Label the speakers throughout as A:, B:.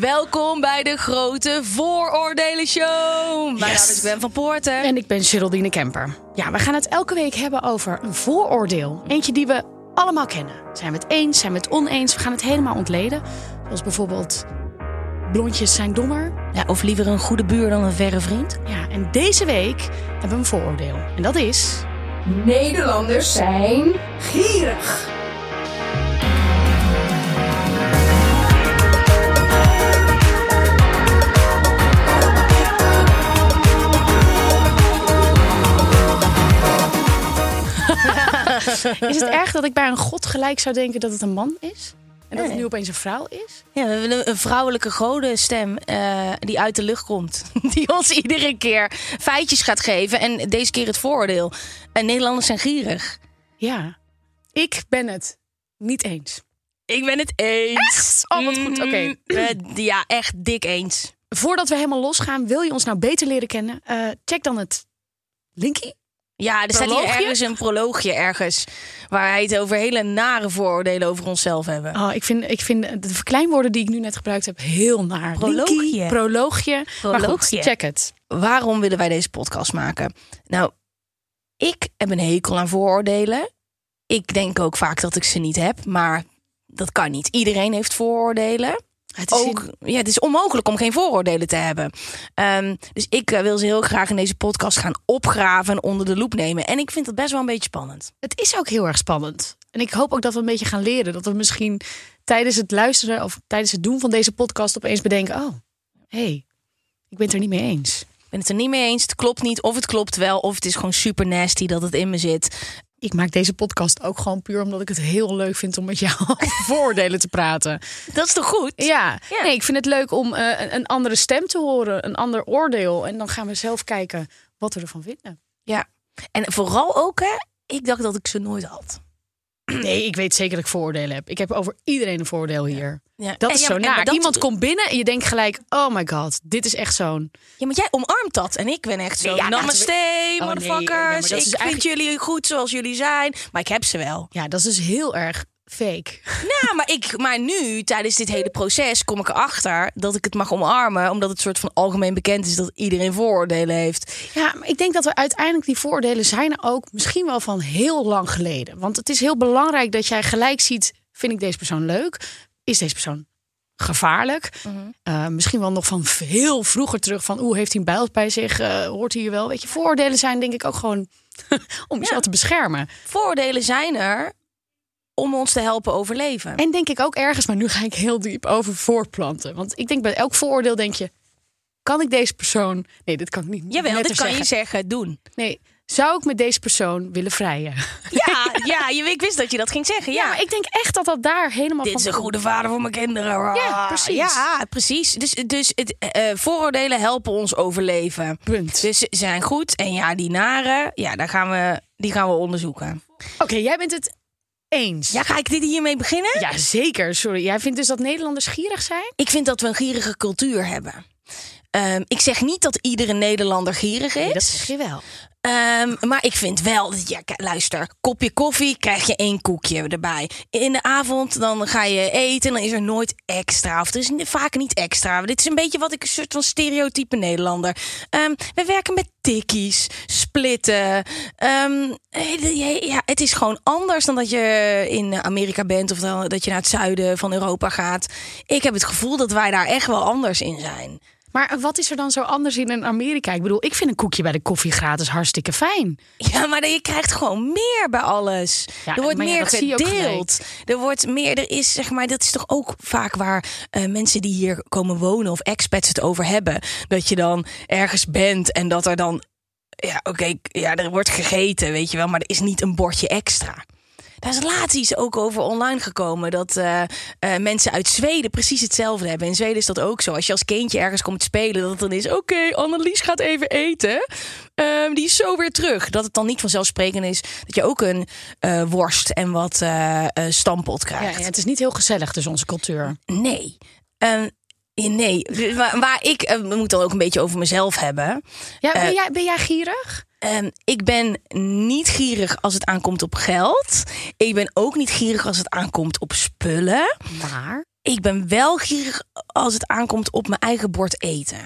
A: Welkom bij de grote vooroordelen show. Mijn naam is Ben van Poorten.
B: En ik ben Geraldine Kemper. Ja, we gaan het elke week hebben over een vooroordeel. Eentje die we allemaal kennen. Zijn we het eens, zijn we het oneens? We gaan het helemaal ontleden. Zoals bijvoorbeeld blondjes zijn dommer.
A: Ja, of liever een goede buur dan een verre vriend.
B: Ja, en deze week hebben we een vooroordeel. En dat is...
C: Nederlanders zijn gierig.
B: Is het erg dat ik bij een god gelijk zou denken dat het een man is? En dat het nu opeens een vrouw is?
A: Ja, we willen een vrouwelijke godenstem eh, die uit de lucht komt. Die ons iedere keer feitjes gaat geven. En deze keer het vooroordeel. En Nederlanders zijn gierig.
B: Ja. Ik ben het niet eens.
A: Ik ben het eens.
B: Oh, wat goed. Oké.
A: Eh, ja, echt dik eens.
B: Voordat we helemaal losgaan, wil je ons nou beter leren kennen? Eh, check dan het linkie.
A: Ja, er staat hier
B: Proloogje?
A: ergens een proloogje ergens. Waar hij het over hele nare vooroordelen over onszelf hebben.
B: Oh, ik, vind, ik vind de verkleinwoorden die ik nu net gebruikt heb heel naar.
A: Proloogje.
B: Linkie, proloogje. Maar goed,
A: Proloogje.
B: check het.
A: waarom willen wij deze podcast maken? Nou, ik heb een hekel aan vooroordelen. Ik denk ook vaak dat ik ze niet heb, maar dat kan niet. Iedereen heeft vooroordelen.
B: Het is
A: Ook, ja, het is onmogelijk om geen vooroordelen te hebben. Ehm, dus ik eh, wil ze heel graag in deze podcast gaan opgraven en onder de loep nemen. En ik vind dat best wel een beetje spannend.
B: Het is ook heel erg spannend. En ik hoop ook dat we een beetje gaan leren. Dat we misschien tijdens het luisteren of tijdens het doen van deze podcast opeens bedenken: oh, hé, hey, ik ben het er niet mee eens.
A: Ik ben het er niet mee eens. Het klopt niet. Of het klopt wel. Of het is gewoon super nasty dat het in me zit.
B: Ik maak deze podcast ook gewoon puur omdat ik het heel leuk vind om met jou over vooroordelen te praten.
A: Dat is toch goed?
B: Ja, Nee, ik vind het leuk om eh, een- een andere stem te horen, een ander oordeel. En dan gaan we zelf kijken wat we ervan vinden.
A: ja. En vooral ook, hè, ik dacht dat ik ze nooit had.
B: Nee, ik weet zeker dat ik vooroordelen heb. Ik heb over iedereen een voordeel hier.
A: Ja.
B: Dat
A: En
B: is
A: ja,
B: zo
A: en
B: naar.
A: maar dat-
B: Iemand komt binnen en je denkt gelijk: oh my god, dit is echt zo'n.
A: Ja, maar jij omarmt dat. En ik ben echt zo,
B: Nee, ja,
A: namaste,
B: laten Oh, nee, ja, maar dat
A: motherfuckers.
B: is
A: ik vind
B: eigenlijk-
A: jullie goed zoals jullie zijn. Maar ik heb ze wel.
B: Ja, dat is dus heel erg fake.
A: nou, maar, ik, maar nu, tijdens dit hele proces, kom ik erachter dat ik het mag omarmen. Omdat het soort van algemeen bekend is dat iedereen vooroordelen heeft.
B: Ja, maar ik denk dat we uiteindelijk die voordelen zijn er ook misschien wel van heel lang geleden. Want het is heel belangrijk dat jij gelijk ziet: vind ik deze persoon leuk? Is deze persoon gevaarlijk? Eh, misschien wel nog van heel vroeger terug van hoe heeft hij een bijl bij zich? Eh, hoort hij hier wel? Weet je, voordelen zijn denk ik ook gewoon om jezelf te beschermen.
A: Vooroordelen zijn er om ons te helpen overleven.
B: En denk ik ook ergens, maar nu ga ik heel diep over voortplanten. Want ik denk bij elk vooroordeel denk je. Kan ik deze persoon. Nee, dit kan ik niet.
A: Jawel,
B: netter
A: dat kan je
B: zeggen.
A: zeggen, doen.
B: Nee, zou ik met deze persoon willen vrijen?
A: Ja, ja je, ik wist dat je dat ging zeggen.
B: Ja, maar ik denk echt dat dat daar helemaal
A: Dit
B: van
A: is een
B: komt.
A: goede vader voor mijn kinderen. Ah,
B: Ja, precies.
A: Ja, precies. Dus, dus het, eh, vooroordelen helpen ons overleven.
B: Punt.
A: Dus ze zijn goed. En ja, die nare, ja, daar gaan we, die gaan we onderzoeken.
B: Oké, jij bent het eens.
A: Ja, ga ik dit hiermee beginnen?
B: Ja, zeker. Sorry. Jij vindt dus dat Nederlanders gierig zijn?
A: Ik vind dat we een gierige cultuur hebben. Ehm, ik zeg niet dat iedere Nederlander gierig is.
B: Nee, dat zeg je wel.
A: Ehm, maar ik vind wel, dat- ja, k- luister, kopje koffie krijg je één koekje erbij. In de avond dan ga je eten en dan is er nooit extra. Of er is ni- vaak niet extra. Dit is een beetje wat ik een soort van stereotype Nederlander. Ehm, we werken met tikkies, splitten. Ehm, eh, ja, ja, het is gewoon anders dan dat je in Amerika bent of dan dat je naar het zuiden van Europa gaat. Ik heb het gevoel dat wij daar echt wel anders in zijn.
B: Maar wat is er dan zo anders in een Amerika? Ik bedoel, ik vind een koekje bij de koffie gratis hartstikke fijn.
A: Ja, maar je krijgt gewoon meer bij alles.
B: Ja,
A: er wordt
B: maar ja,
A: meer
B: dat zie je ook
A: gedeeld. Er wordt meer, er is zeg maar, dat is toch ook vaak waar eh, mensen die hier komen wonen of expats het over hebben. Dat je dan ergens bent en dat er dan, ja, oké, k- ja, er wordt gegeten, weet je wel, maar er is niet een bordje extra. Daar is laatst iets ook over online gekomen. Dat eh, eh, mensen uit Zweden precies hetzelfde hebben. In Zweden is dat ook zo. Als je als kindje ergens komt spelen, dat het dan is... oké, Annelies gaat even eten. Ehm, die is zo weer terug. Dat het dan niet vanzelfsprekend is dat je ook een eh, worst en wat eh eh, stampot
B: Ja,
A: krijgt.
B: en het is niet heel gezellig, dus onze cultuur.
A: Nee. Ehm, ja, nee. Dus Waar, waar ik... eh, we moeten dan ook een beetje over mezelf hebben.
B: Ja,
A: Eh,
B: ben, jij, ben jij gierig?
A: Ehm, ik ben niet gierig als het aankomt op geld. Ik ben ook niet gierig als het aankomt op spullen.
B: Maar.
A: ik ben wel gierig als het aankomt op mijn eigen bord eten.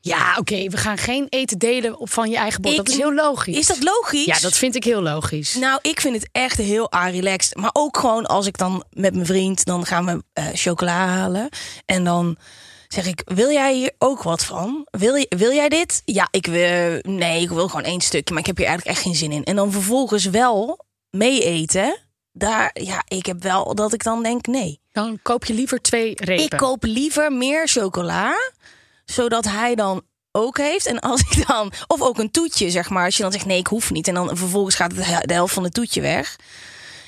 B: Ja, oké, we gaan geen eten delen op van je eigen bord.
A: Ik-
B: dat is heel logisch.
A: Is dat logisch?
B: Ja, dat vind ik heel logisch.
A: Nou, ik vind het echt heel ah, relaxed. Maar ook gewoon als ik dan met mijn vriend, dan gaan we eh, chocola halen. En dan zeg ik, wil jij hier ook wat van? Wil, je, wil jij dit? Ja, ik wil, nee, ik wil gewoon één stukje, maar ik heb hier eigenlijk echt geen zin in. En dan vervolgens wel mee eten. Daar, ja, ik heb wel dat ik dan denk, nee.
B: Dan koop je liever twee repen.
A: Ik koop liever meer chocola, zodat hij dan ook heeft. En als ik dan, of ook een toetje, zeg maar. Als je dan zegt nee, ik hoef niet. En dan vervolgens gaat het he- de helft van het toetje weg.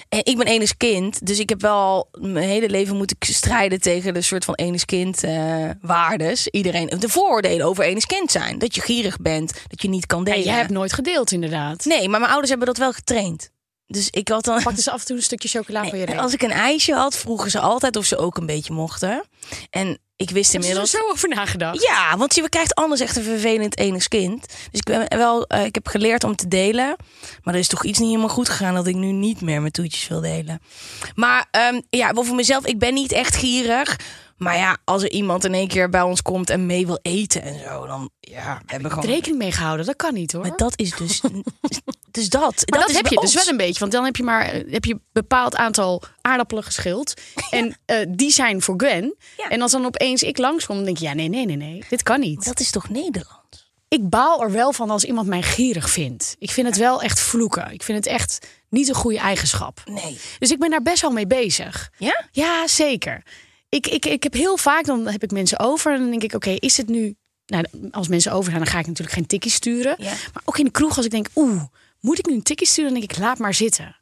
A: En ik ben enig kind, dus ik heb wel mijn hele leven moeten k- strijden tegen de soort van enig kind eh, waardes. Iedereen, de vooroordelen over enig kind zijn. Dat je gierig bent, dat je niet kan
B: Ja,
A: delen.
B: jij hebt nooit gedeeld, inderdaad.
A: Nee, maar mijn ouders hebben dat wel getraind. Dus ik had dan.
B: Pak dus af en toe een stukje chocola voor je reep.
A: Als ik een ijsje had, vroegen ze altijd of ze ook een beetje mochten. En ik wist
B: Hebben ze er
A: inmiddels.
B: zo over nagedacht?
A: Ja, want je krijgt anders echt een vervelend enig kind. Dus ik, ben wel, eh, ik heb geleerd om te delen. Maar er is toch iets niet helemaal goed gegaan dat ik nu niet meer mijn toetjes wil delen. Maar ehm, ja, voor mezelf, ik ben niet echt gierig. Maar ja, als er iemand in één keer bij ons komt en mee wil eten en zo, dan ja, we hebben we
B: Had
A: gewoon.
B: Rekening mee gehouden, dat kan niet hoor.
A: Maar dat is dus. dus dat.
B: Maar dat,
A: is
B: heb
A: bij
B: je dus
A: ons.
B: wel een beetje. Want dan heb je maar eh, heb je een bepaald aantal aardappelen geschild. En eh, die zijn voor Gwen.
A: Ja.
B: En als dan opeens ik langskom, dan denk je... ja, nee, nee, nee, nee, dit kan niet.
A: Dat is toch Nederland?
B: Ik baal er wel van als iemand mij gierig vindt. Ik vind het wel echt vloeken. Ik vind het echt niet een goede eigenschap.
A: Nee.
B: Dus ik ben daar best wel mee bezig.
A: Ja?
B: Ja, zeker. Ik, ik, ik heb heel vaak, dan heb ik mensen over en dan denk ik, oké, is het nu... Nou, als mensen over zijn, dan ga ik natuurlijk geen tikkie sturen.
A: Ja.
B: Maar ook in de kroeg, als ik denk, oeh, moet ik nu een tikkie sturen? Dan denk ik, laat maar zitten.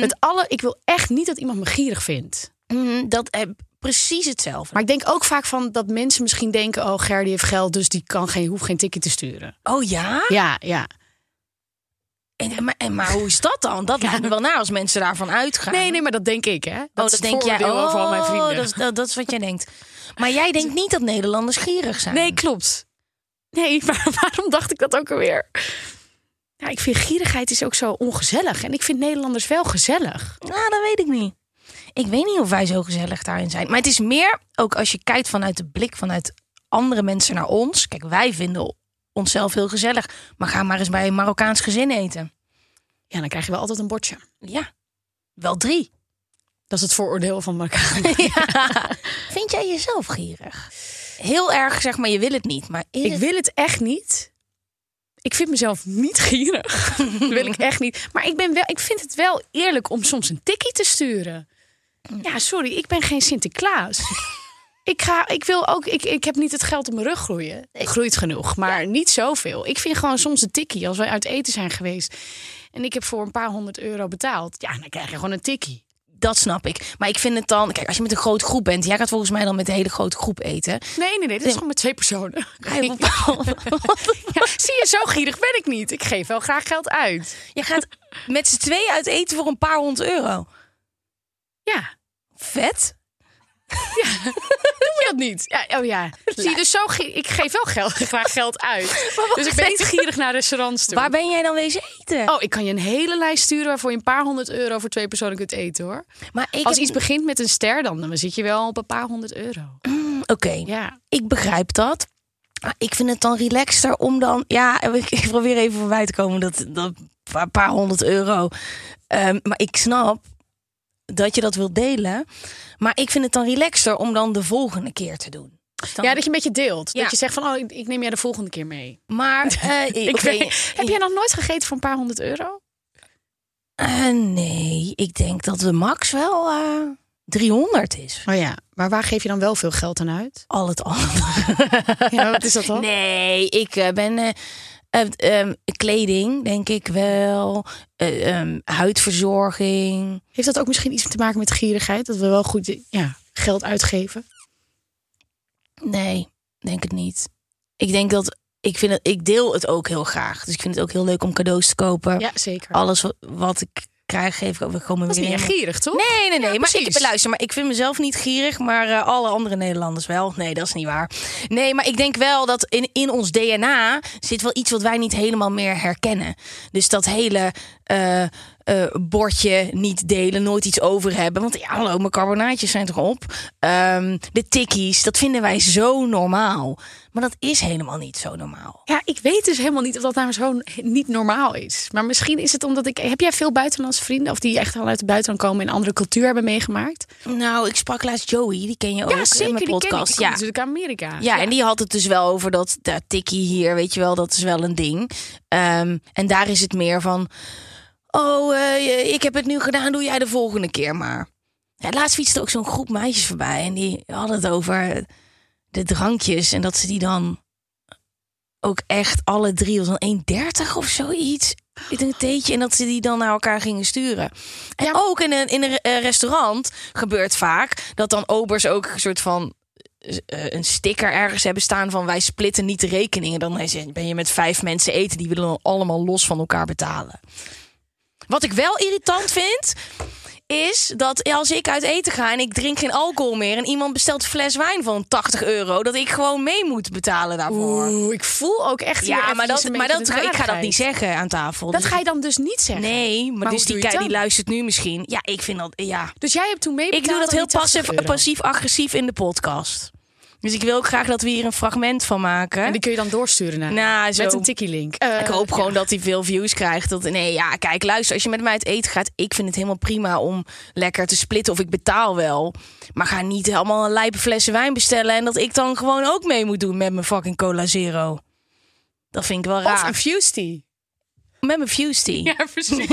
B: Het alle, ik wil echt niet dat iemand me gierig vindt.
A: Mhm, dat heb precies hetzelfde.
B: Maar ik denk ook vaak van dat mensen misschien denken, oh, Gerdy heeft geld, dus die kan geen, hoeft geen tikkie te sturen.
A: oh ja?
B: Ja, ja.
A: En, en- maar, en- maar hoe is dat dan? Dat lijkt me wel naar als mensen daarvan uitgaan. Oh,
B: Nee, nee, maar dat denk ik, hè? is
A: Dat, dat
B: het
A: denk jij
B: vooroordeel
A: oh,
B: van mijn vrienden.
A: Dat, is- dat, dat is wat jij denkt. Maar jij denkt niet dat Nederlanders gierig zijn.
B: Nee, klopt. Nee, maar waarom dacht ik dat ook alweer? Ja, ik vind gierigheid is ook zo ongezellig. En ik vind Nederlanders wel gezellig.
A: Nou, dat weet ik niet. Ik weet niet of wij zo gezellig daarin zijn. Maar het is meer ook als je kijkt vanuit de blik vanuit andere mensen naar ons. Kijk, wij vinden onszelf heel gezellig. Maar ga maar eens bij een Marokkaans gezin eten.
B: Ja, dan krijg je wel altijd een bordje.
A: Ja, wel drie.
B: Dat is het vooroordeel van elkaar.
A: Vind jij jezelf gierig? Heel erg, zeg maar, je wil het niet. Maar is
B: Ik
A: het-
B: wil het echt niet. Ik vind mezelf niet gierig. Dat wil ik echt niet. Maar ik, ben wel, ik vind het wel eerlijk om soms een tikkie te sturen. Ja, sorry, ik ben geen Sinterklaas. ik, ga, ik, wil ook, ik, ik heb niet het geld op mijn rug groeien. Groeit genoeg, maar niet zoveel. Ik vind gewoon soms een tikkie. Als wij uit eten zijn geweest en ik heb voor een paar honderd euro betaald. Ja, dan krijg je gewoon een tikkie.
A: Dat snap ik. Maar ik vind het dan... Kijk, als je met een grote groep bent... Jij gaat volgens mij dan met de hele grote groep eten.
B: Nee, nee, nee, dat is gewoon met twee personen.
A: Hij
B: Ja, zie je, zo gierig ben ik niet. Ik geef wel graag geld uit.
A: Je gaat met z'n twee uit eten voor een paar honderd euro.
B: Ja,
A: Vet.
B: Doe je dat niet? Ja, oh ja. Zie je, dus zo ge- ik geef wel geld, graag geld uit.
A: wacht
B: Dus ik ben niet
A: even.
B: gierig naar restaurants toe.
A: Waar ben jij dan wezen eten?
B: Oh, ik kan je een hele lijst sturen waarvoor je een paar honderd euro voor twee personen kunt eten hoor.
A: maar ik
B: Als
A: heb-
B: iets begint met een ster, dan, dan zit je wel op een paar honderd euro.
A: Oké,
B: Ja.
A: ik begrijp dat. Maar ik vind het dan relaxter om dan... Ja, ik, ik probeer even voorbij te komen dat, dat paar, paar honderd euro. Ehm, maar ik snap dat je dat wilt delen. Maar ik vind het dan relaxter om dan de volgende keer te doen. Dan-
B: ja, dat je een beetje deelt.
A: Ja.
B: Dat je zegt van, oh, ik, ik neem jij de volgende keer mee.
A: Maar eh,
B: Ik
A: oké,
B: weet- heb jij nog nooit gegeten voor een paar honderd euro?
A: eh, nee, ik denk dat de max wel eh 300 is.
B: Oh ja, maar waar geef je dan wel veel geld aan uit?
A: Al het andere.
B: Ja, wat is dat dan?
A: Nee, ik eh, ben eh, eh, ehm, kleding denk ik wel, Eh, ehm, huidverzorging.
B: Heeft dat ook misschien iets te maken met gierigheid? Dat we wel goed ja, geld uitgeven?
A: Nee, denk het niet. Ik denk dat ik vind het, ik deel het ook heel graag. Dus ik vind het ook heel leuk om cadeaus te kopen.
B: Ja, zeker.
A: Alles wat, wat ik krijg geef ik ook gewoon weer.
B: dat is niet echt
A: helemaal-
B: gierig, toch?
A: Nee, nee, nee.
B: Ja,
A: maar ik,
B: precies.
A: luister, maar ik vind mezelf niet gierig, maar eh, alle andere Nederlanders wel. Nee, dat is niet waar. Nee, maar ik denk wel dat in, in ons DNA zit wel iets wat wij niet helemaal meer herkennen. Dus dat hele eh, eh, bordje niet delen, nooit iets over hebben. Want ja, hallo, mijn carbonaatjes zijn toch op. Ehm, de tikkies, dat vinden wij zo normaal. Maar dat is helemaal niet zo normaal.
B: Ja, ik weet dus helemaal niet of dat nou zo niet normaal is. Maar misschien is het omdat ik... Heb jij veel buitenlandse vrienden? Of die echt al uit het buitenland komen en een andere cultuur hebben meegemaakt?
A: Nou, ik sprak laatst Joey, die ken je ook in mijn
B: die ken ik.
A: podcast.
B: Die komt natuurlijk uit Amerika.
A: Ja, en die had het dus wel over dat dat tikkie hier, weet je wel, dat is wel een ding. Ehm, en daar is het meer van, oh, eh, je- ik heb het nu gedaan, doe jij de volgende keer maar. Ja, laatst fietste ook zo'n groep meisjes voorbij en die hadden het over de drankjes en dat ze die dan ook echt alle drie, was dan 1,30 of zoiets. Ik denk een theetje en dat ze die dan naar elkaar gingen sturen. En
B: Ja.
A: ook in een, in een eh, restaurant gebeurt vaak dat dan obers ook een soort van eh, een sticker ergens hebben staan van wij splitten niet de rekeningen. Dan is- ben je met vijf mensen eten die willen dan allemaal los van elkaar betalen. Wat ik wel irritant vind, is dat als ik uit eten ga en ik drink geen alcohol meer en iemand bestelt een fles wijn van 80 euro, dat ik gewoon mee moet betalen daarvoor.
B: Oeh, ik voel ook echt hier
A: ja, maar,
B: eventjes
A: dat,
B: een
A: maar
B: beetje de
A: dat, ik ga dat
B: narigheid.
A: niet zeggen aan tafel.
B: Dat
A: Dus-
B: ga je dan dus niet zeggen?
A: Nee, maar,
B: Maar
A: dus
B: hoe
A: die
B: doe je het
A: kei die
B: dan?
A: luistert nu misschien. Ja, ik vind dat. Ja.
B: Dus jij hebt toen mee.
A: Ik doe dat heel passief,
B: passief.
A: passief-agressief in de podcast. Dus ik wil ook graag dat we hier een fragment van maken.
B: En die kun je dan doorsturen naar
A: Nou, zo.
B: met een tikkie link. Eh,
A: ik hoop gewoon dat hij veel views krijgt. Dat, nee, ja, kijk, luister, als je met mij uit eten gaat... ik vind het helemaal prima om lekker te splitten of ik betaal wel. Maar ga niet allemaal een lijpe flessen wijn bestellen... en dat ik dan gewoon ook mee moet doen met mijn fucking Cola Zero. Dat vind ik wel
B: Of
A: raar.
B: een fusty.
A: Met mijn Fuse Tea. Ja,
B: precies.
A: Met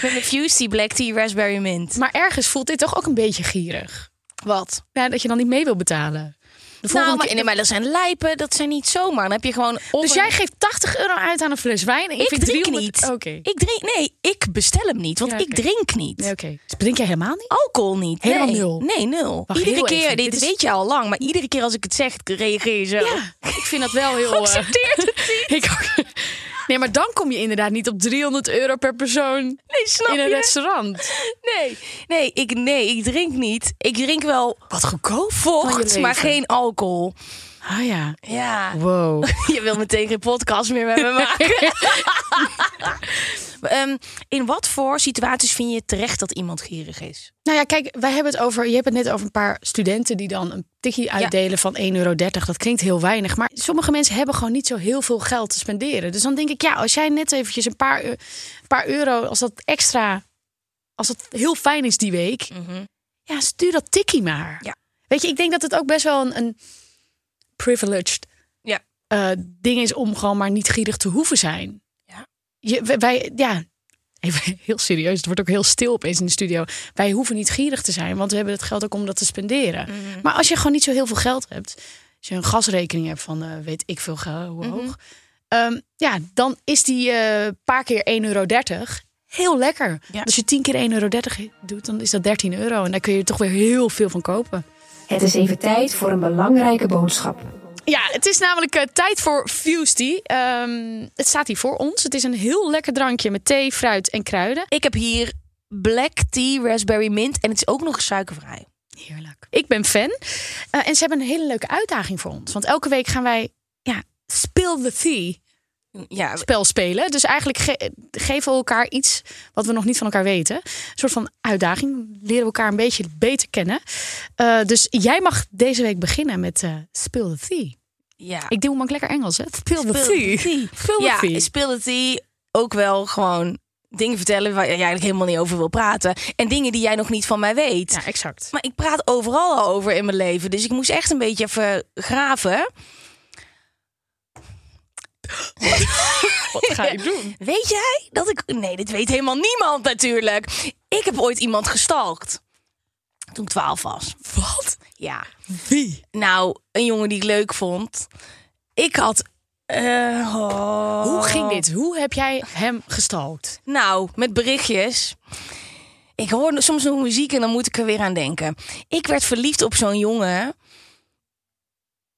A: mijn Fuse Tea, Black Tea, Raspberry Mint.
B: maar ergens voelt dit toch ook een beetje gierig.
A: Wat?
B: Ja, dat je dan niet mee wil betalen. De volgende
A: Nou, maar,
B: keer-
A: nee, maar dat zijn lijpen, dat zijn niet zomaar. Dan heb je gewoon... of
B: dus
A: een-
B: jij geeft 80 euro uit aan een fles wijn. En je
A: Ik
B: vindt
A: drink
B: 300
A: niet.
B: Oké.
A: Ik drink... Nee, ik bestel hem niet, want
B: Ja,
A: ik
B: oké.
A: drink niet.
B: Nee, oké. Dus drink jij helemaal niet?
A: Alcohol niet.
B: Helemaal
A: nee.
B: nul?
A: Nee, nul.
B: Wacht,
A: iedere
B: heel
A: keer,
B: even.
A: dit
B: Dit is-
A: weet je al lang, maar iedere keer als ik het zeg, reageer je zo.
B: Ja, ik vind dat wel heel. eh,
A: Accepteer het niet.
B: ik ook. Nee, maar dan kom je inderdaad niet op 300 euro per persoon
A: Nee, snap
B: in een
A: je?
B: restaurant.
A: Nee. Nee, ik, nee, ik drink niet. Ik drink wel
B: Wat goedkoop. Van je
A: vocht,
B: leven.
A: maar geen alcohol.
B: Ah ja.
A: Oh Ja.
B: Wow.
A: Je wil meteen geen podcast meer met me maken. Ehm, in wat voor situaties vind je terecht dat iemand gierig is?
B: Nou ja, kijk, wij hebben het over. Je hebt het net over een paar studenten die dan een tikkie uitdelen van 1,30 euro. Dat klinkt heel weinig. Maar sommige mensen hebben gewoon niet zo heel veel geld te spenderen. Dus dan denk ik, ja, als jij net eventjes een paar, eu- een paar euro, als dat extra. Als dat heel fijn is die week, ja, stuur dat tikkie maar.
A: Ja.
B: Weet je, ik denk dat het ook best wel een, een privileged
A: Ja.
B: eh, ding is om gewoon maar niet gierig te hoeven zijn.
A: Ja.
B: Je, wij- wij, ja, even heel serieus, het wordt ook heel stil opeens in de studio. Wij hoeven niet gierig te zijn, want we hebben het geld ook om dat te spenderen.
A: Mhm.
B: Maar als je gewoon niet zo heel veel geld hebt, als je een gasrekening hebt van eh, weet ik veel ge- hoe
A: Mhm.
B: hoog, ehm, ja, dan is die eh, paar keer 1,30 euro. Heel lekker.
A: Ja.
B: Als je 10 keer 1,30 euro doet, dan is dat 13 euro. En daar kun je er toch weer heel veel van kopen.
C: Het is even tijd voor een belangrijke boodschap.
B: Ja, het is namelijk eh, tijd voor Fusty. Ehm het staat hier voor ons. Het is een heel lekker drankje met thee, fruit en kruiden.
A: Ik heb hier black tea, raspberry mint en het is ook nog eens suikervrij.
B: Heerlijk. Ik ben fan. Eh, en ze hebben een hele leuke uitdaging voor ons. Want elke week gaan wij ja, Spill the Tea
A: Ja,
B: spel spelen. Dus eigenlijk ge- geven we elkaar iets wat we nog niet van elkaar weten. Een soort van uitdaging. Leren we elkaar een beetje beter kennen. Eh, dus jij mag deze week beginnen met eh Spill the Tea.
A: ja.
B: Ik doe hem ook lekker Engels, hè? Spill the
A: Spill the
B: Tea.
A: tea.
B: Spill the
A: ja,
B: tea.
A: spillity. Ook wel gewoon dingen vertellen waar je eigenlijk helemaal niet over wil praten. En dingen die jij nog niet van mij weet.
B: Ja, exact.
A: Maar ik praat overal al over in mijn leven. Dus ik moest echt een beetje even graven.
B: Wat ga ik doen?
A: Weet jij dat ik... Nee, dit weet helemaal niemand natuurlijk. Ik heb ooit iemand gestalkt. Toen ik twaalf was. Wat? Ja.
B: Wie?
A: Nou, een jongen die ik leuk vond. Ik had... eh, oh.
B: Hoe ging dit? Hoe heb jij hem gestalkt?
A: Nou, met berichtjes. Ik hoor soms nog muziek en dan moet ik er weer aan denken. Ik werd verliefd op zo'n jongen.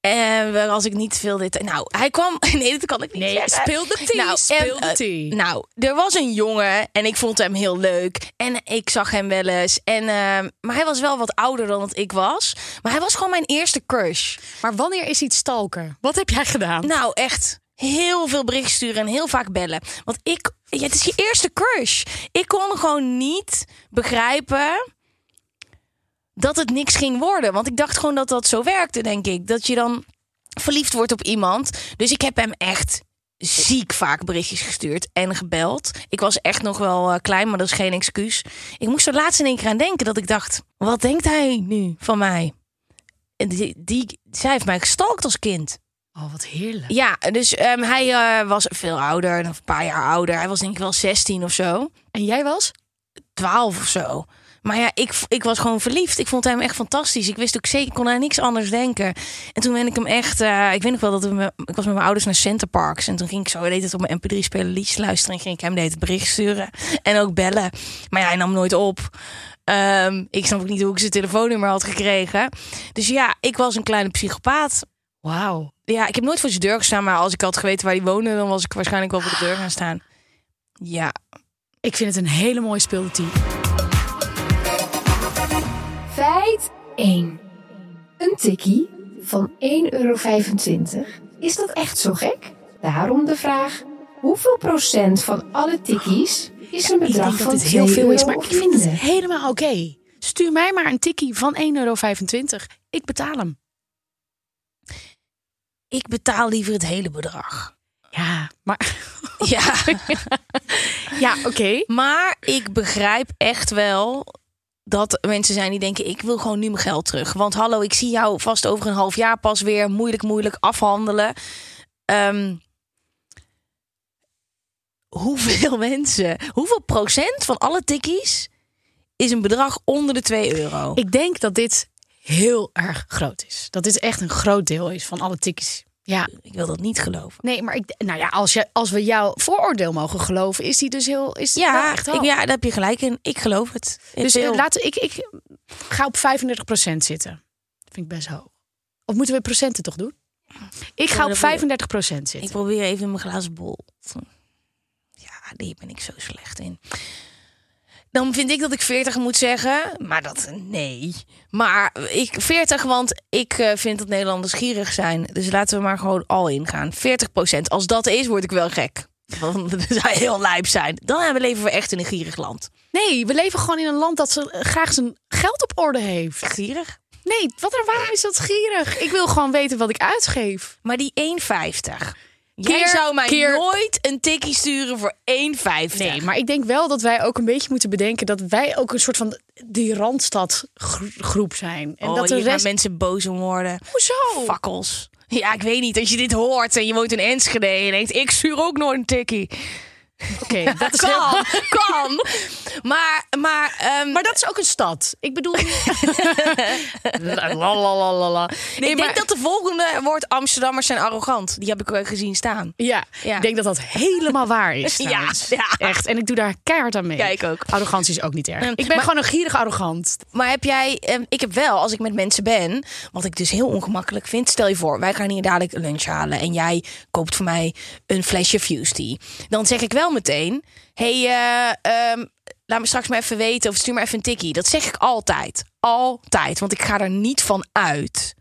A: En wel, als ik niet veel dit. Nou, hij kwam. Nee, dat kan ik niet.
B: Nee,
A: zeggen.
B: speel de tea, speel de
A: eh,
B: tea.
A: nou, er was een jongen en ik vond hem heel leuk. En ik zag hem wel eens. En, eh, maar hij was wel wat ouder dan dat ik was. Maar hij was gewoon mijn eerste crush.
B: Maar wanneer is iets stalken? Wat heb jij gedaan?
A: Nou, echt. Heel veel berichten sturen en heel vaak bellen. Want ik, ja, het is je eerste crush. Ik kon gewoon niet begrijpen dat het niks ging worden. Want ik dacht gewoon dat dat zo werkte, denk ik. Dat je dan verliefd wordt op iemand. Dus ik heb hem echt ziek vaak berichtjes gestuurd en gebeld. Ik was echt nog wel eh, klein, maar dat is geen excuus. Ik moest er laatst in één keer aan denken dat ik dacht... wat denkt hij nu van mij? En die, die, zij heeft mij gestalkt als kind.
B: Oh, wat heerlijk.
A: Ja, dus ehm, hij eh, was veel ouder, een paar jaar ouder. Hij was denk ik wel 16 of zo,
B: En jij was?
A: 12 of zo. Maar ja, ik, ik was gewoon verliefd. Ik vond hem echt fantastisch. Ik wist ook zeker, ik kon aan niks anders denken. En toen ben ik hem echt, eh, ik weet nog wel dat we me- ik was met mijn ouders naar Center Parks. En toen ging ik zo, deed het op mijn MP3-speler liedjes luisteren. En ging ik hem deed het bericht sturen. En ook bellen. Maar ja, hij nam nooit op. Ehm, ik snap ook niet hoe ik zijn telefoonnummer had gekregen. Dus ja, ik was een kleine psychopaat.
B: Wauw.
A: Ja, ik heb nooit voor zijn deur gestaan, maar als ik had geweten waar hij woonde, dan was ik waarschijnlijk wel voor de deur gaan staan. Ja.
B: Ik vind het een hele mooie speel de tea.
C: Feit 1. Een tikkie van 1,25 euro. Is dat echt zo gek? Daarom de vraag: hoeveel procent van alle tikkies is een
B: Ik
C: bedrag
B: denk
C: van
B: dat het
C: 2
B: heel veel is,
C: euro
B: maar
C: of
B: ik vind het
C: minder?
B: helemaal oké. Stuur mij maar een tikkie van 1,25 euro. Ik betaal hem.
A: Ik betaal liever het hele bedrag.
B: Ja, maar...
A: Ja.
B: Ja, oké.
A: Maar ik begrijp echt wel dat er mensen zijn die denken: ik wil gewoon nu mijn geld terug. Want hallo, ik zie jou vast over een half jaar pas weer moeilijk, moeilijk afhandelen. Ehm, hoeveel mensen, hoeveel procent van alle tikkies is een bedrag onder de 2 euro?
B: Ik denk dat dit heel erg groot is. Dat dit echt een groot deel is van alle tikkies. Ja,
A: ik wil dat niet geloven.
B: nee, maar ik, nou ja, als, je, als we jouw vooroordeel mogen geloven, is die dus heel. Is die wel
A: Ja,
B: echt
A: ik,
B: hoog.
A: ja, daar heb je gelijk in. Ik geloof het. Ik
B: Dus eh,
A: wil-
B: laten ik, ik ga op 35% zitten. Dat vind ik best hoog. Of moeten we procenten toch doen? Ik ga op
A: dat wil-
B: 35%
A: ik
B: zitten.
A: probeer even mijn glazen bol. Ja, die ben ik zo slecht in. Dan vind ik dat ik 40 moet zeggen, maar dat nee. Maar ik 40, want ik eh, vind dat Nederlanders gierig zijn. Dus laten we maar gewoon al ingaan. 40 Als dat is, word ik wel gek. Want dat zou heel lijp zijn. Dan hebben- leven we echt in een gierig land.
B: Nee, we leven gewoon in een land dat ze eh, graag zijn geld op orde heeft.
A: Gierig?
B: Nee, wat er, waarom is dat gierig? Ik wil gewoon weten wat ik uitgeef.
A: Maar die 1,50. Jij
B: Keer-
A: zou mij
B: keer-
A: nooit een tikkie sturen voor 1,50.
B: Nee, maar ik denk wel dat wij ook een beetje moeten bedenken dat wij ook een soort van die randstadgroep zijn. En
A: oh,
B: dat de
A: hier gaan
B: rest.
A: mensen boos om worden.
B: Hoezo?
A: Fakkels. Ja, ik weet niet. Als je dit hoort en je woont in Enschede en je denkt... ik stuur ook nooit een tikkie.
B: Oké, dat is heel-
A: Kan, kan. Maar, maar, ehm,
B: Maar dat is ook een stad. Ik bedoel. La, la, la, la, la.
A: ik denk dat de volgende wordt Amsterdammers zijn arrogant. Die heb ik eh, gezien staan.
B: Ja,
A: Ja.
B: ik denk dat dat helemaal waar is.
A: Ja,
B: trouwens.
A: ja.
B: echt. En ik doe daar keihard aan mee.
A: Ja, ik ook.
B: Arrogantie is ook niet erg.
A: Mm,
B: Ik ben
A: maar-
B: gewoon een gierig arrogant.
A: Maar heb jij, ehm, ik heb wel, als ik met mensen ben, wat ik dus heel ongemakkelijk vind. Stel je voor, wij gaan hier dadelijk lunch halen en jij koopt voor mij een flesje Fuse Tea. Dan zeg ik wel meteen, hey, eh, ehm, laat me straks maar even weten of stuur maar even een tikkie. Dat zeg ik altijd. Altijd. Want ik ga er niet van uit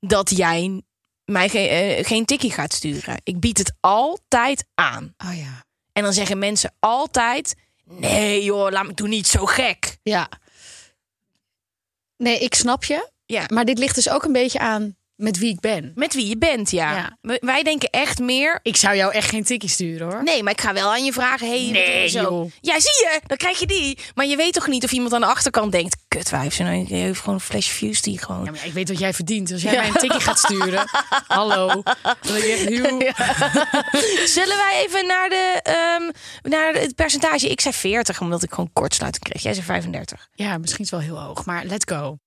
A: dat jij mij ge- eh, geen tikkie gaat sturen. Ik bied het altijd aan.
B: Oh ja.
A: En dan zeggen mensen altijd: nee joh, laat me doe niet zo gek.
B: Ja. Nee, ik snap je.
A: Ja.
B: Maar dit ligt dus ook een beetje aan met wie ik ben.
A: Met wie je bent, ja.
B: Ja.
A: W- Wij denken echt meer.
B: Ik zou jou echt geen tikkie sturen hoor.
A: Nee, maar ik ga wel aan je vragen. Hey, wat
B: Nee,
A: doen we zo.
B: joh.
A: Ja, zie je, dan kwijt je die. Maar je weet toch niet of iemand aan de achterkant denkt: kut, wijf, ze nou- je heeft gewoon een flash views die gewoon.
B: Ja, maar ik weet wat jij verdient. Als jij mij een tikkie gaat sturen. Hallo. Dan denk ik echt, "Joe."
A: Zullen wij even naar, de, ehm, naar het percentage? Ik zei 40, omdat ik gewoon kortsluiting kreeg. Jij zei 35.
B: Ja, misschien is het wel heel hoog. Maar let's go.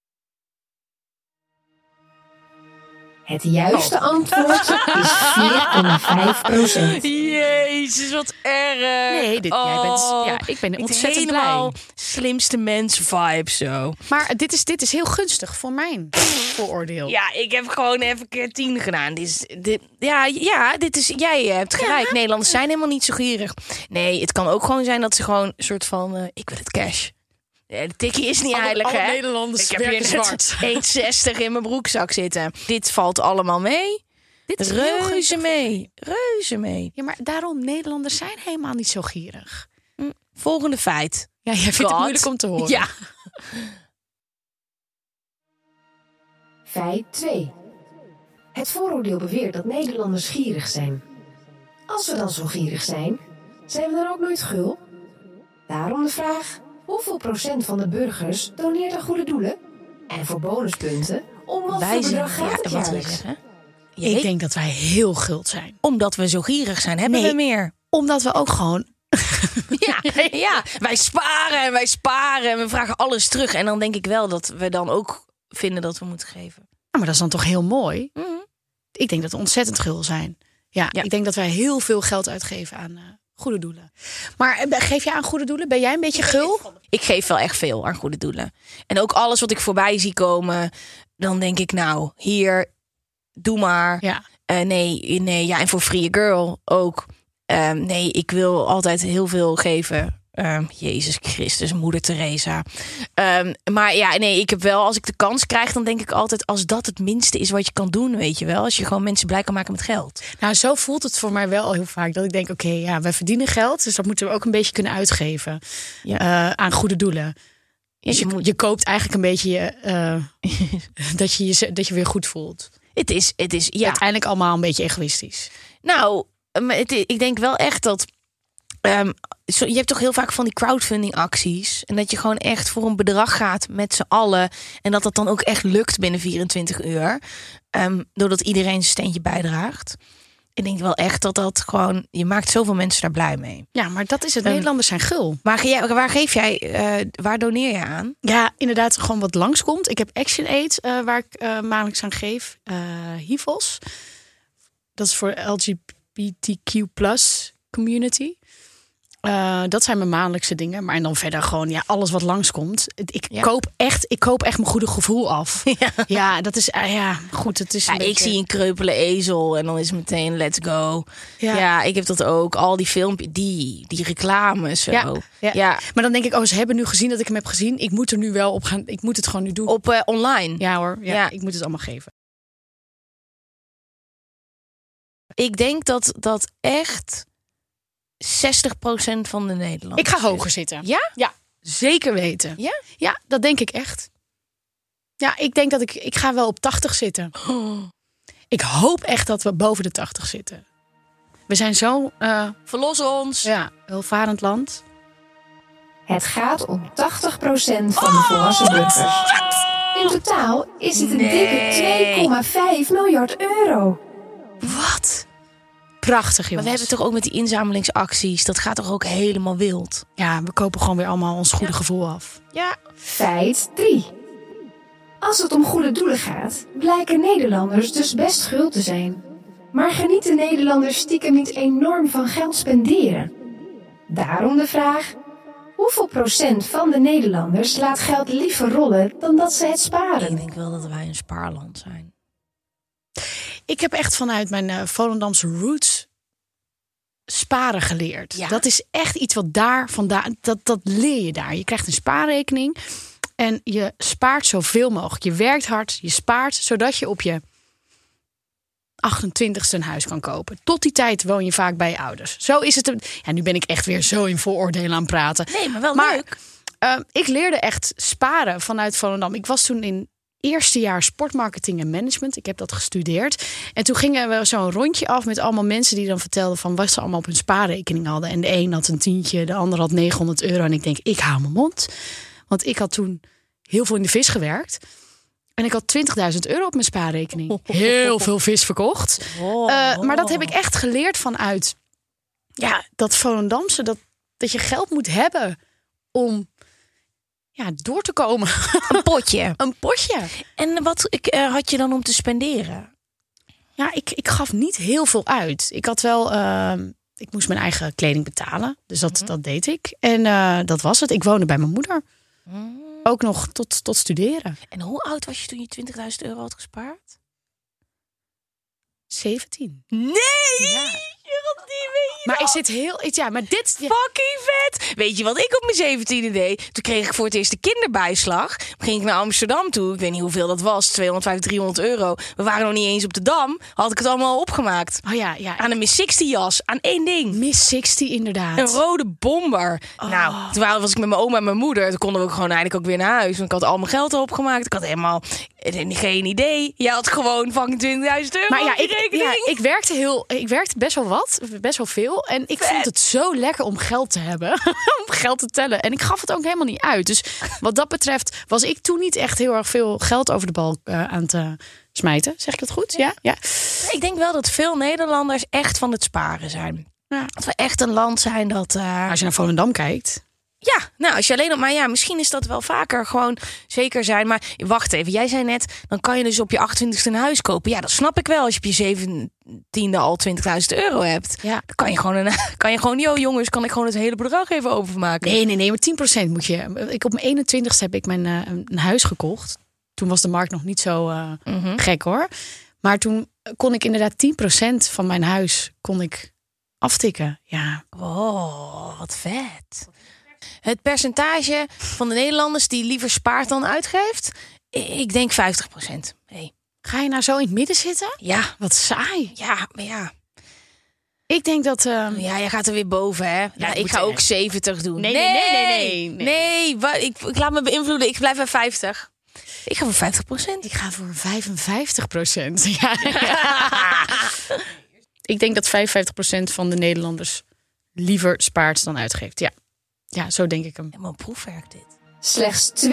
C: Het juiste
B: Oh.
C: antwoord is 4,5 procent.
A: Jezus, wat erg.
B: Nee, dit- jij bent- ja, ik ben ontzettend blij.
A: Eh, oh, helemaal slimste mens vibe zo.
B: Maar dit is, dit is heel gunstig voor mijn vooroordeel.
A: Ja, ik heb gewoon even keer tien gedaan. Dit is, dit, ja, ja, dit is, jij eh, hebt gelijk. Nederlanders zijn helemaal niet zo gierig. Nee, het kan ook gewoon zijn dat ze gewoon een soort van... eh, ik wil het cash. Ja, de tikkie is niet
B: Alle-
A: heilig,
B: alle
A: hè?
B: Nederlanders
A: ik heb hier
B: werken
A: net 1,60 in mijn broekzak zitten. Dit valt allemaal mee.
B: dit is heel
A: Reuze
B: gunstig.
A: mee. Reuze mee.
B: Ja, maar daarom, Nederlanders zijn helemaal niet zo gierig.
A: Volgende feit.
B: Ja, jij vindt
A: God.
B: het moeilijk om te horen.
A: Ja.
C: Feit 2. Het vooroordeel beweert dat Nederlanders gierig zijn. Als we dan zo gierig zijn, zijn we dan ook nooit gul? Daarom de vraag: hoeveel procent van de burgers doneert aan goede doelen? En voor bonuspunten, om wat voor bedrag
A: Ja,
C: gaat het
A: wat wil je
C: jaarlijks?
A: zeggen? Je
B: Ik
A: weet-
B: denk dat wij heel guld zijn.
A: Omdat we zo gierig zijn, hebben
B: Nee.
A: we meer.
B: Omdat we ook gewoon... nou,
A: Ja, ja, wij sparen en wij sparen en we vragen alles terug. En dan denk ik wel dat we dan ook vinden dat we moeten geven.
B: Ja, maar dat is dan toch heel mooi? Ik denk dat we ontzettend gul zijn. Ja,
A: Ja.
B: ik denk dat wij heel veel geld uitgeven aan eh, goede doelen. Maar eh, geef jij aan goede doelen? Ben jij een beetje gul?
A: Ik geef wel echt veel aan goede doelen. En ook alles wat ik voorbij zie komen, dan denk ik nou, hier, doe maar.
B: Ja.
A: Eh, nee, nee, ja, en voor Free Girl ook. Ehm, nee, ik wil altijd heel veel geven. Ehm, Jezus Christus, moeder Teresa. Ehm, maar ja, nee, ik heb wel, als ik de kans krijg, dan denk ik altijd... als dat het minste is wat je kan doen, weet je wel. Als je gewoon mensen blij kan maken met geld.
B: Nou, zo voelt het voor mij wel heel vaak. Dat ik denk, oké, ja, we verdienen geld. Dus dat moeten we ook een beetje kunnen uitgeven.
A: Ja.
B: eh, aan goede doelen.
A: Ja,
B: Dus
A: je
B: je,
A: moet-
B: je koopt eigenlijk een beetje je, eh, dat, je je, dat je weer goed voelt.
A: Het is, het is, ja.
B: Uiteindelijk allemaal een beetje egoïstisch.
A: Nou, maar het, ik denk wel echt dat. ehm, zo, je hebt toch heel vaak van die crowdfunding-acties. En dat je gewoon echt voor een bedrag gaat met z'n allen. En dat dat dan ook echt lukt binnen 24 uur. Ehm, doordat iedereen zijn steentje bijdraagt. Ik denk wel echt dat dat gewoon. Je maakt zoveel mensen daar blij mee.
B: Ja, maar dat is het.
A: Ehm,
B: Nederlanders zijn gul.
A: Maar ge- jij- waar geef jij. eh, waar doneer je aan?
B: Ja, inderdaad, gewoon wat langskomt. Ik heb Action Aid, eh, waar ik eh, maandelijks aan geef. Eh, HIVOS. Dat is voor LGBTQ community. Eh, dat zijn mijn maandelijkse dingen. Maar en dan verder gewoon ja, alles wat langskomt. Het- Ik,
A: Ja.
B: koop echt, ik koop echt mijn goede gevoel af. Ja, dat is... eh, ja, goed, het is
A: Ja,
B: een
A: ik
B: beetje-
A: zie een kreupele ezel en dan is het meteen let's go. Ja.
B: Ja.
A: ik heb dat ook. Al die filmpjes, die, die reclames. Zo.
B: Ja, ja.
A: ja,
B: Maar dan denk ik, oh, ze hebben nu gezien dat ik hem heb gezien. Ik moet er nu wel op gaan. Ik moet het gewoon nu doen.
A: op eh, online.
B: Ja hoor, ja,
A: Ja.
B: ik moet het allemaal geven.
A: Ik denk dat dat echt 60% van de Nederlanders.
B: Ik ga
A: is.
B: hoger zitten.
A: Ja?
B: Oh, Ja, zeker weten.
A: Ja?
B: Ja, dat denk ik echt. Ja, ik denk dat ik... Ik ga wel op 80 zitten. Ik hoop echt dat we boven de 80 zitten. We zijn zo, eh
A: Verlos ons.
B: ja, welvarend land.
C: Het gaat om 80% van
A: Oh,
C: de volwassen burgers. In totaal is dit een dikke 2,5 miljard euro.
A: Wat?
B: Prachtig, jongens.
A: Maar we hebben toch ook met die inzamelingsacties. Dat gaat toch ook helemaal wild?
B: Ja, we kopen gewoon weer allemaal ons goede gevoel af.
A: Ja.
C: Feit 3. Als het om goede doelen gaat, blijken Nederlanders dus best schuld te zijn. Maar genieten Nederlanders stiekem niet enorm van geld spenderen? Daarom de vraag: hoeveel procent van de Nederlanders laat geld liever rollen dan dat ze het
A: Ik
C: sparen?
A: denk wel dat wij een spaarland zijn.
B: Ik heb echt vanuit mijn eh Volendamse roots sparen geleerd.
A: Ja.
B: Dat is echt iets wat daar vandaan, dat, dat leer je daar. Je krijgt een spaarrekening en je spaart zoveel mogelijk. Je werkt hard, je spaart, zodat je op je 28ste een huis kan kopen. Tot die tijd woon je vaak bij je ouders. Zo is het. een- Ja, nu ben ik echt weer zo in vooroordelen aan het praten.
A: Nee, maar wel
B: Maar-
A: leuk.
B: Eh, ik leerde echt sparen vanuit Volendam. Ik was toen in eerste jaar sportmarketing en management. Ik heb dat gestudeerd. En toen gingen we zo'n rondje af met allemaal mensen die dan vertelden van wat ze allemaal op hun spaarrekening hadden. En de een had een tientje, de ander had 900 euro. En ik denk, ik hou mijn mond. Want ik had toen heel veel in de vis gewerkt. En ik had 20.000 euro op mijn spaarrekening. Heel veel vis verkocht. Eh, maar dat heb ik echt geleerd vanuit ja, dat Volendamse. Dat, dat je geld moet hebben om ja, door te komen.
A: Een potje.
B: Een potje.
A: En wat ik, eh, had je dan om te spenderen?
B: Ja, ik, ik gaf niet heel veel uit. Ik had wel. ehm, ik moest mijn eigen kleding betalen. Dus dat, dat deed ik. En eh, dat was het. Ik woonde bij mijn moeder. Ook nog tot, tot studeren.
A: En hoe oud was je toen je 20.000 euro had gespaard?
B: 17.
A: Nee!
B: Ja.
A: Geraldine, weet je
B: Maar
A: dat?
B: ik zit heel. ik- Ja, maar dit. ja,
A: Fucking vet! Weet je wat ik op mijn 17e deed? Toen kreeg ik voor het eerst de kinderbijslag. Toen ging ik naar Amsterdam toe. Ik weet niet hoeveel dat was. 250, 300 euro. We waren nog niet eens op de Dam. Had ik het allemaal opgemaakt.
B: Oh ja, ja.
A: Aan een Miss 60 jas. Aan één ding.
B: Miss 60 inderdaad.
A: Een rode bomber. Nou, toen wa- was ik met mijn oma en mijn moeder. Toen konden we ook gewoon eigenlijk ook weer naar huis. Want ik had al mijn geld opgemaakt. Ik had helemaal eh, geen idee. Je had gewoon fucking 20.000 euro
B: Maar ja
A: op je
B: ik,
A: rekening.
B: ja, ik werkte heel, ik werkte best wel wat, best wel veel. En ik vond het zo lekker om geld te hebben, om geld te tellen. En ik gaf het ook helemaal niet uit. Dus wat dat betreft was ik toen niet echt heel erg veel geld over de bal eh, aan te smijten. Zeg ik dat goed? Ja, ja.
A: Ik denk wel dat veel Nederlanders echt van het sparen zijn.
B: Ja.
A: Dat we echt een land zijn dat... eh,
B: Als je naar Volendam kijkt.
A: Ja, nou, als je alleen op... Maar ja, misschien is dat wel vaker gewoon zeker zijn. Maar wacht even, jij zei net, dan kan je dus op je 28e een huis kopen. Ja, dat snap ik wel als je op je 17e al 20.000 euro hebt.
B: Ja.
A: Dan kan je gewoon, een, kan je gewoon yo jongens, kan ik gewoon het hele bedrag even overmaken?
B: Nee, nee, nee, maar 10% moet je. eh, Ik, op mijn 21ste heb ik mijn, eh, een een huis gekocht. Toen was de markt nog niet zo eh, gek hoor. Maar toen kon ik inderdaad 10% van mijn huis kon ik aftikken. Ja,
A: Wow, Oh, wat vet. Het percentage van de Nederlanders die liever spaart dan uitgeeft? I- Ik denk 50 procent.
B: Ga je nou zo in het midden zitten?
A: Ja,
B: Wat saai.
A: ja, maar ja.
B: Ik denk dat. ehm,
A: Oh, Ja, jij gaat er weer boven, hè? nou, ik
B: moet
A: ga
B: er-
A: ook 70 doen.
B: Nee, nee, nee, nee, nee.
A: Nee, wa- ik, ik laat me beïnvloeden. Ik blijf bij 50. Ik ga voor 50 procent.
B: Ik ga voor 55 procent. Ja. Ik denk dat 55 van de Nederlanders liever spaart dan uitgeeft. Ja. Ja, zo denk ik hem.
A: Helemaal een proefwerk dit.
C: Slechts 32%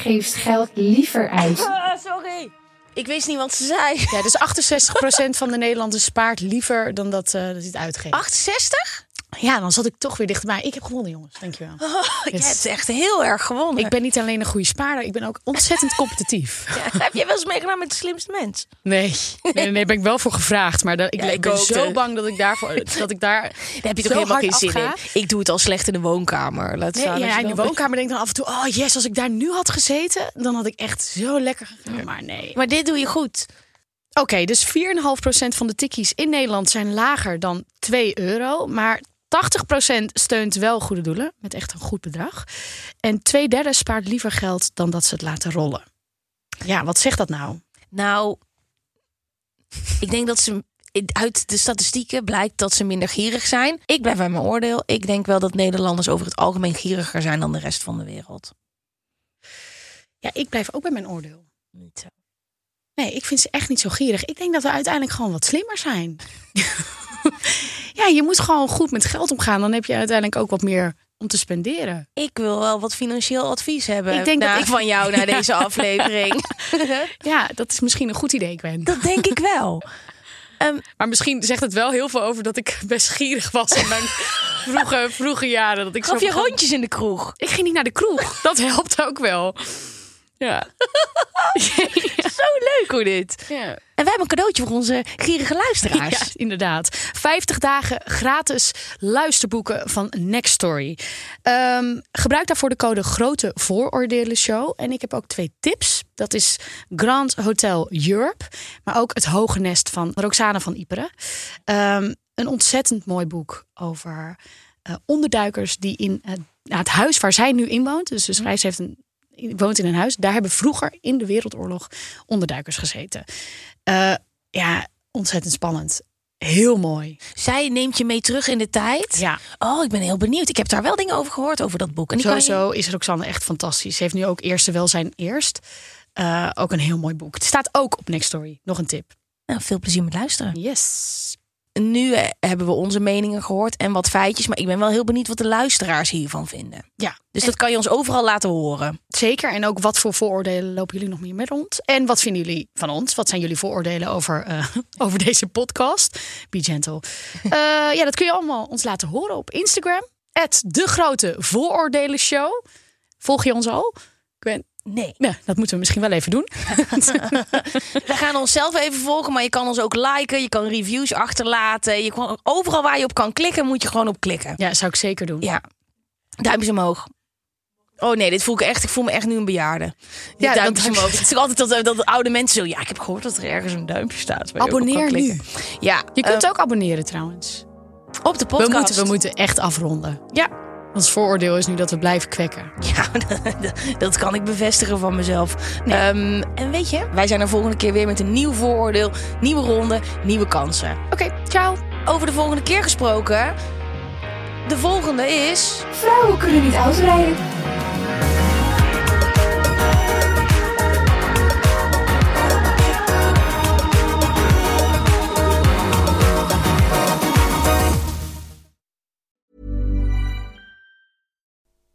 C: geeft geld liever uit.
B: Ah,
A: sorry. Ik wist niet wat ze zei.
B: Ja, dus 68 van de Nederlanders spaart liever dan dat, eh, dat hij het uitgeeft.
A: 68?
B: Ja, dan zat ik toch weer dichterbij. Ik heb gewonnen, jongens. Dankjewel.
A: Je
B: Yes.
A: Oh, hebt echt heel erg gewonnen.
B: Ik ben niet alleen een goede spaarder, ik ben ook ontzettend competitief.
A: Heb jij wel eens meegedaan met de slimste mens?
B: Nee, nee, nee, nee, ben ik wel voor gevraagd. Maar dat, ik,
A: Ja, ik
B: ik ben
A: ook,
B: zo
A: hè.
B: bang dat ik daarvoor. Dat ik daar.
A: Daar heb je
B: zo
A: toch helemaal geen
B: hard
A: zin
B: afga.
A: in. Ik doe het al slecht in de woonkamer. Laat
B: Nee,
A: staan als
B: ja,
A: je
B: in
A: dan-
B: de woonkamer denk ik dan af en toe: oh yes, als ik daar nu had gezeten, dan had ik echt zo lekker gegaan. Maar nee.
A: Maar dit doe je goed.
B: Oké, dus 4,5% van de tikkies in Nederland zijn lager dan 2 euro. Maar 80% steunt wel goede doelen met echt een goed bedrag. En twee derde spaart liever geld dan dat ze het laten rollen. Ja, wat zegt dat nou?
A: Nou, ik denk dat ze uit de statistieken blijkt dat ze minder gierig zijn. Ik blijf bij mijn oordeel. Ik denk wel dat Nederlanders over het algemeen gieriger zijn dan de rest van de wereld.
B: Ja, ik blijf ook bij mijn oordeel.
A: Niet zo.
B: Nee, ik vind ze echt niet zo gierig. Ik denk dat we uiteindelijk gewoon wat slimmer zijn. ja, je moet gewoon goed met geld omgaan. Dan heb je uiteindelijk ook wat meer om te spenderen.
A: Ik wil wel wat financieel advies hebben.
B: Ik denk dat
A: na-
B: ik-
A: van jou naar deze aflevering.
B: Ja, dat is misschien een goed idee, Gwen.
A: Dat denk ik wel.
B: Maar misschien zegt het wel heel veel over dat ik best gierig was in mijn vroege, vroege jaren. Dat ik
A: Gaf
B: zo
A: je rondjes in de kroeg?
B: Ik ging niet naar de kroeg. Dat helpt ook wel. Ja.
A: Zo leuk hoe dit.
B: ja.
A: En wij hebben een cadeautje voor onze gierige luisteraars.
B: Ja, inderdaad. 50 dagen gratis luisterboeken van Next Story. Ehm, gebruik daarvoor de code Grote Vooroordelen Show. En ik heb ook twee tips. Dat is Grand Hotel Europe, maar ook het Hoge Nest van Roxane van Iperen. Ehm, een ontzettend mooi boek over eh, onderduikers die in eh, nou, het huis waar zij nu in woont. Dus de schrijfster heeft een, woont in een huis. Daar hebben vroeger in de Wereldoorlog onderduikers gezeten. Eh, ja, ontzettend spannend. Heel mooi.
A: Zij neemt je mee terug in de tijd.
B: Ja.
A: Oh, ik ben heel benieuwd. Ik heb daar wel dingen over gehoord over dat boek. En die kan je-
B: Sowieso is Roxanne echt fantastisch. Ze heeft nu ook Eerste Welzijn Eerst. Eh, ook een heel mooi boek. Het staat ook op Next Story. Nog een tip.
A: Nou, veel plezier met luisteren.
B: Yes.
A: Nu eh, hebben we onze meningen gehoord en wat feitjes. Maar ik ben wel heel benieuwd wat de luisteraars hiervan vinden.
B: Ja,
A: Dus dat kan je ons overal laten horen.
B: zeker. En ook wat voor vooroordelen lopen jullie nog meer met rond? En wat vinden jullie van ons? Wat zijn jullie vooroordelen over, eh, over deze podcast? Be gentle. Eh, ja, dat kun je allemaal ons laten horen op Instagram. At de grote vooroordelen show. Volg je ons al? Gwen?
A: Nee.
B: Ja, dat moeten we misschien wel even doen.
A: We gaan onszelf even volgen, maar je kan ons ook liken. Je kan reviews achterlaten. Je kan, overal waar je op kan klikken, moet je gewoon op klikken.
B: Ja, zou ik zeker doen.
A: Ja. Duimpjes omhoog. Oh nee, dit voel ik echt. Ik voel me echt nu een bejaarde. Ja,
B: dat-
A: duimpjes omhoog. Het is toch altijd dat, dat oude mensen zo. Ja, ik heb gehoord dat er ergens een duimpje staat. waar je ook op kan
B: Abonneer nu.
A: klikken. Ja,
B: Je kunt ook abonneren trouwens.
A: eh, op de podcast.
B: ehm, We moeten, we moeten echt afronden.
A: Ja.
B: Ons vooroordeel is nu dat we blijven kwekken.
A: Ja, dat kan ik bevestigen van mezelf. Ehm, en weet je, wij zijn er volgende keer weer met een nieuw vooroordeel, nieuwe ronde, nieuwe kansen.
B: Oké, ciao.
A: Over de volgende keer gesproken. De volgende is.
C: Vrouwen kunnen niet autorijden.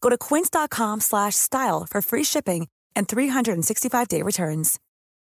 D: Go to quince.com/style for free shipping and 365-day returns.